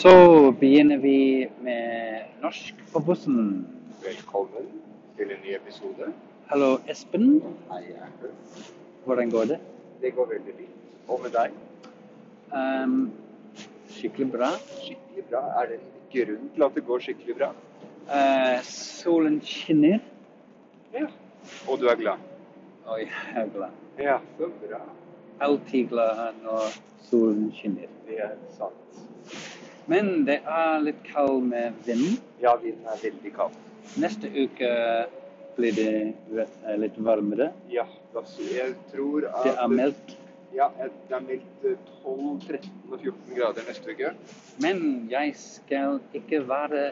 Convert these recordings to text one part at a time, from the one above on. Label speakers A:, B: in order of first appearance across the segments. A: Så begynner vi med norsk på bussen.
B: Velkommen til en ny episode.
A: Hallo, Espen.
B: Hei, Erlend.
A: Hvordan går det?
B: Det går veldig fint. Og med deg?
A: Ehm, skikkelig bra.
B: Skikkelig bra. Er det en grunn til at det går skikkelig bra?
A: Eh, solen skinner,
B: Ja. Og du er glad?
A: og jeg er glad.
B: Ja. Så bra.
A: Alltid glad når solen skinner.
B: Det er sant.
A: Men det er litt kald med vind.
B: Ja, vinden er veldig kald.
A: Neste uke blir det ve- eh, litt varmere.
B: Ja, da sier jeg tror at
A: Det er meldt.
B: Ja, det er meldt eh, 12, 13 og 14 grader neste uke.
A: Men jeg skal ikke være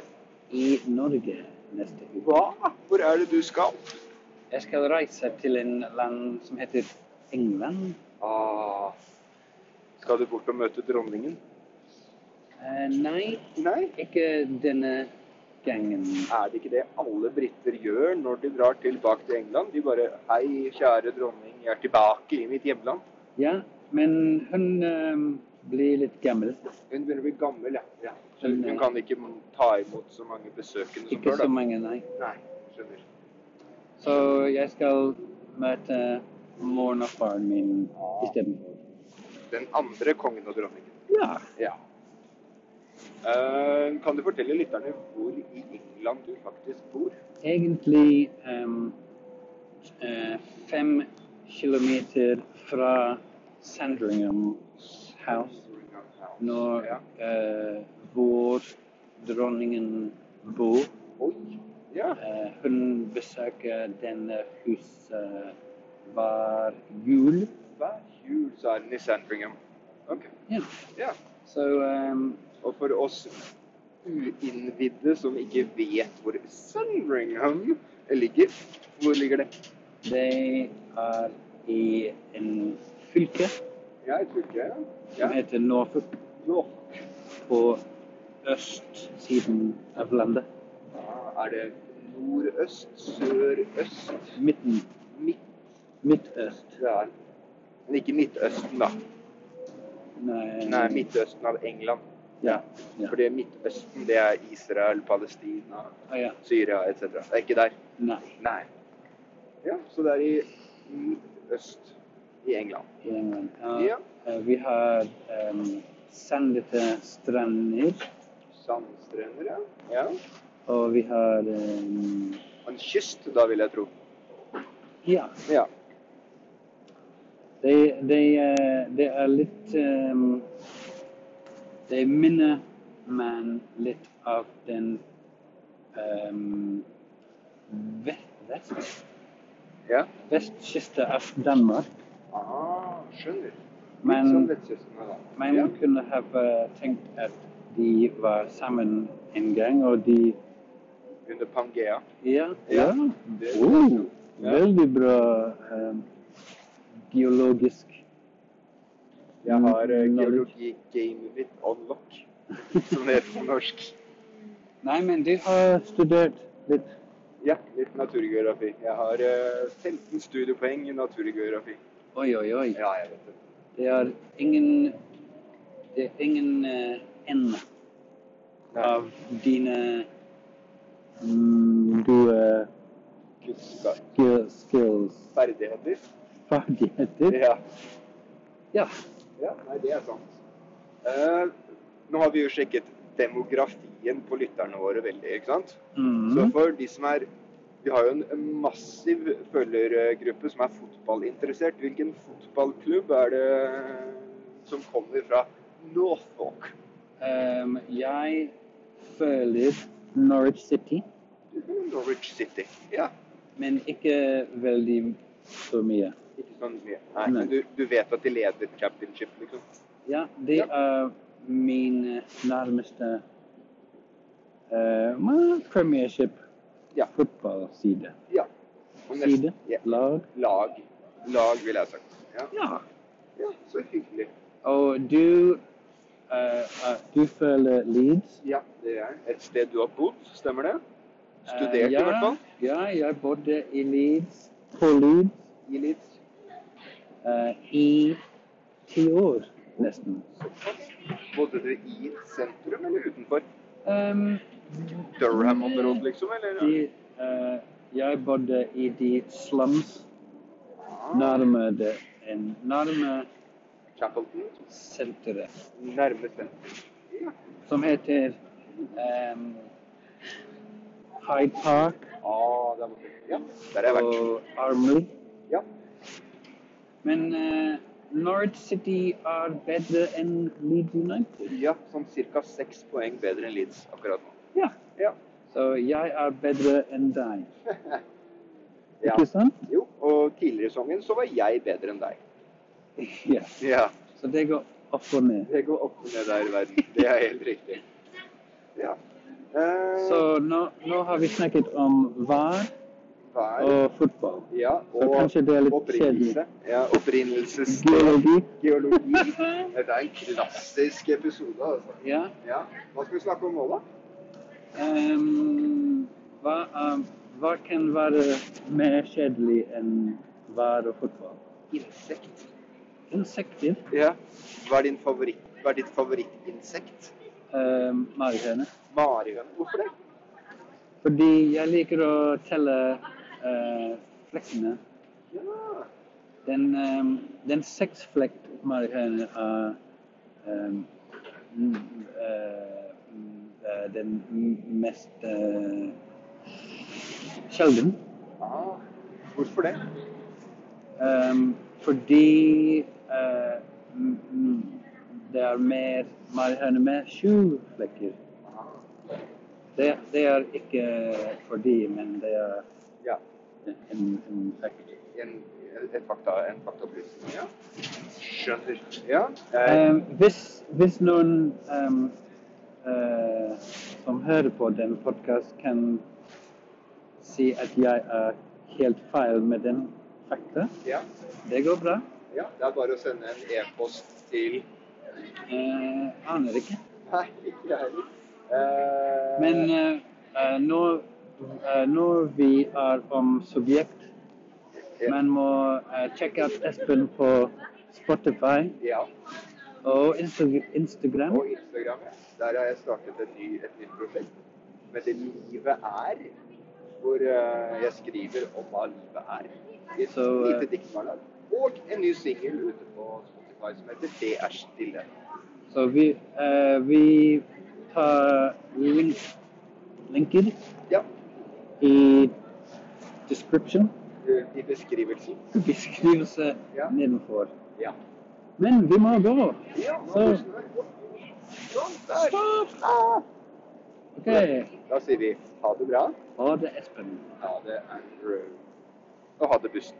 A: i Norge neste uke.
B: Hva? Hvor er det du skal?
A: Jeg skal reise til en land som heter England.
B: Ah. Skal du bort og møte dronningen?
A: Eh, nei,
B: Nei.
A: ikke denne gangen.
B: Er det ikke det alle briter gjør når de drar tilbake til England? De bare Hei, kjære dronning, jeg er tilbake i mitt hjemland.
A: Ja, men hun eh, blir litt gammel.
B: Hun begynner å bli gammel, ja. ja. Så
A: Men,
B: hun
A: eh,
B: kan ikke ta imot så mange besøkende som
A: Ikke
B: før,
A: så
B: da.
A: mange, nei.
B: Nei, skjønner.
A: Så jeg skal møte moren og faren min istedenfor.
B: Den andre kongen og dronningen.
A: Ja.
B: Ja. Eh, kan du fortelle lytterne hvor i England du faktisk bor?
A: Egentlig em, eh, fem kilometer fra Sandringham's house. når
B: ja.
A: eh, vår dronningen bor.
B: Oi. Ja.
A: Eh, hun besøker denne huset hver jul.
B: Hver jul så er den i Sandringham. Ok.
A: Ja.
B: Ja.
A: Så ehm, em,
B: Og for oss uinnvidde som ikke vet hvor Sandringham ligger, hvor ligger det?
A: det er i en fylke
B: Ja, jeg tror ikke
A: som heter Norfolk
B: Nå.
A: på østsiden av landet.
B: Er det nordøst, sørøst,
A: Midten.
B: midt
A: Midtøst.
B: der? Men ikke Midtøsten, da.
A: Nei,
B: Nei, Midtøsten av England.
A: Ja. ja.
B: Fordi Midtøsten, det er Israel, Palestina,
A: Ah, ja.
B: Syria etc. Det er ikke der.
A: Nei.
B: Nei. Ja, så det er i midtøst i England.
A: i England. Ja.
B: Ja.
A: Eh, Vi har ehm, em, sandete strender,
B: Sandstrender, ja. ja.
A: og vi har em,
B: Og en kyst, da vil jeg tro.
A: Ja.
B: Ja.
A: Det, det, eh, det er litt em, Det minner meg litt av den um, vest,
B: ja.
A: vestkiste av Danmark.
B: Ah, skjønner.
A: Men-
B: Litt sånn vettkysten her, da.
A: Man
B: ja.
A: kunne ha eh, tenkt at de var sammen en gang, og de
B: Under Pangea.
A: Ja.
B: Ja. Det-
A: Oh,
B: Ja.
A: Veldig bra eh, geologisk.
B: Jeg har eh,
A: knowledge.
B: geologi-gamet mitt on lock, som det heter på norsk.
A: Nei, men du har studert litt.
B: Ja, litt naturgeografi. Jeg har eh, 15 studiepoeng i naturgeografi.
A: Oi, oi, oi.
B: Ja, jeg vet det.
A: Det er ingen Det er ingen eh, ende
B: Nei,
A: av dine mm, gode
B: kunnskap.
A: skill- skills.
B: Ferdigheter.
A: Ferdigheter.
B: Ja.
A: Ja.
B: ja. Nei, det er sant. Eh, nå har vi jo sjekket demografien på lytterne våre veldig, ikke sant? Så
A: Mm.
B: for de som er Vi har jo en massiv følgergruppe som er fotballinteressert. Hvilken fotballklubb er det som kommer fra Norfolk?
A: Em, Ehm, jeg føler Norwich City,
B: Norwich City. Ja.
A: men ikke veldig så mye.
B: Ikke sånn mye. Nei,
A: Nei.
B: men du, du vet at de leder championship, liksom?
A: Ja, det
B: Ja.
A: er min nærmeste eh, men premiership
B: Ja.
A: fotballside.
B: Ja. Og nest-
A: Side?
B: Ja.
A: Lag?
B: Lag. Lag, vil jeg ha sagt. Ja.
A: Ja.
B: ja, så hyggelig.
A: Og du eh, eh, du føler Leeds?
B: Ja, det er et sted du har bodd, stemmer det?
A: Eh,
B: Studert,
A: ja,
B: i hvert fall?
A: Ja, jeg bodde i Leeds, på Leeds,
B: I Leeds.
A: eh, i ti år nesten.
B: Bodde du i sentrum eller utenfor?
A: Um,
B: Durham-området,
A: Mm.
B: liksom? Eller?
A: de, eh, jeg bodde i de slums
B: Ah,
A: nærme, det, en, nærme
B: Chapelton?
A: senteret,
B: Nærme sentrum.
A: som heter um, Hyde Park
B: Ah, der, borte. ja, der har jeg vært.
A: og Armory.
B: Ja.
A: Men eh, North City er bedre enn Leeds United.
B: Ja, sånn ca. seks poeng bedre enn Leeds akkurat nå.
A: Ja.
B: Ja.
A: Så jeg er bedre enn deg.
B: ja.
A: Ikke sant?
B: Jo, og tidligere i sesongen så var jeg bedre enn deg.
A: Ja.
B: Ja.
A: Så det går opp og ned.
B: Det går opp og ned der i verden. Det er helt riktig. Ja. Eh,
A: Så nå, nå har vi snakket om vær
B: vær,
A: og fotball.
B: ja,
A: så kanskje det er litt
B: opprinnelse. Ja, opprinnelses...
A: Geologi.
B: Geologi. Dette er en klassisk episode, altså.
A: Ja.
B: Ja. Hva skal vi snakke om nå, da?
A: ehm, hva, er, hva kan være mer kjedelig enn vær og fotball?
B: Insekt.
A: Insekter.
B: Ja. Hva er, din favoritt, hva er ditt favorittinsekt?
A: Um, Marihøne.
B: Marihøne. Hvorfor det?
A: Fordi jeg liker å telle eh, flekkene.
B: Ja.
A: Den, um, den seksflekt marihøne er um, mm, eh, mm, eh, den m- mest eh, sjelden.
B: Ah. Hvorfor det?
A: Um, fordi eh, mm, mm, det er mer marihøne med sju flekker.
B: Ah.
A: Det, det er ikke fordi, men det er
B: Ja.
A: en, en flekk.
B: En, et fakta, en faktaopplysning. Ja. Skjønner. Ja. Eh,
A: Eh, hvis, hvis noen ehm, eh, som hører på den podkasten, kan si at jeg er helt feil med den fakta,
B: ja.
A: det går bra.
B: ja. Det er bare å sende en e-post til
A: Eh, aner ikke.
B: Nei, ikke jeg heller. Eh,
A: Men eh, eh, når, eh, når vi er om subjekt,
B: Ja.
A: man må eh, sjekke ut Espen på Spotify
B: Ja.
A: og Insta Instagram.
B: Og Instagram. ja. Der har jeg startet en ny, et nytt prosjekt som heter Livet er. Hvor eh, jeg skriver om hva livet er. I et
A: Så, eh,
B: lite dikt hver dag. Og en ny singel ute på Spotify som heter Det er stille.
A: Så vi, eh, vi tar link, linker
B: Ja.
A: i description,
B: eh, I beskrivelsen.
A: beskrivelse
B: Ja.
A: nedenfor.
B: Ja.
A: Men vi må gå.
B: Ja, nå
A: Så.
B: husker jeg. Sånn, der. Ah.
A: Ok.
B: Da sier vi ha det bra,
A: Ha det, Espen.
B: ha det Andrew, og ha det bussen.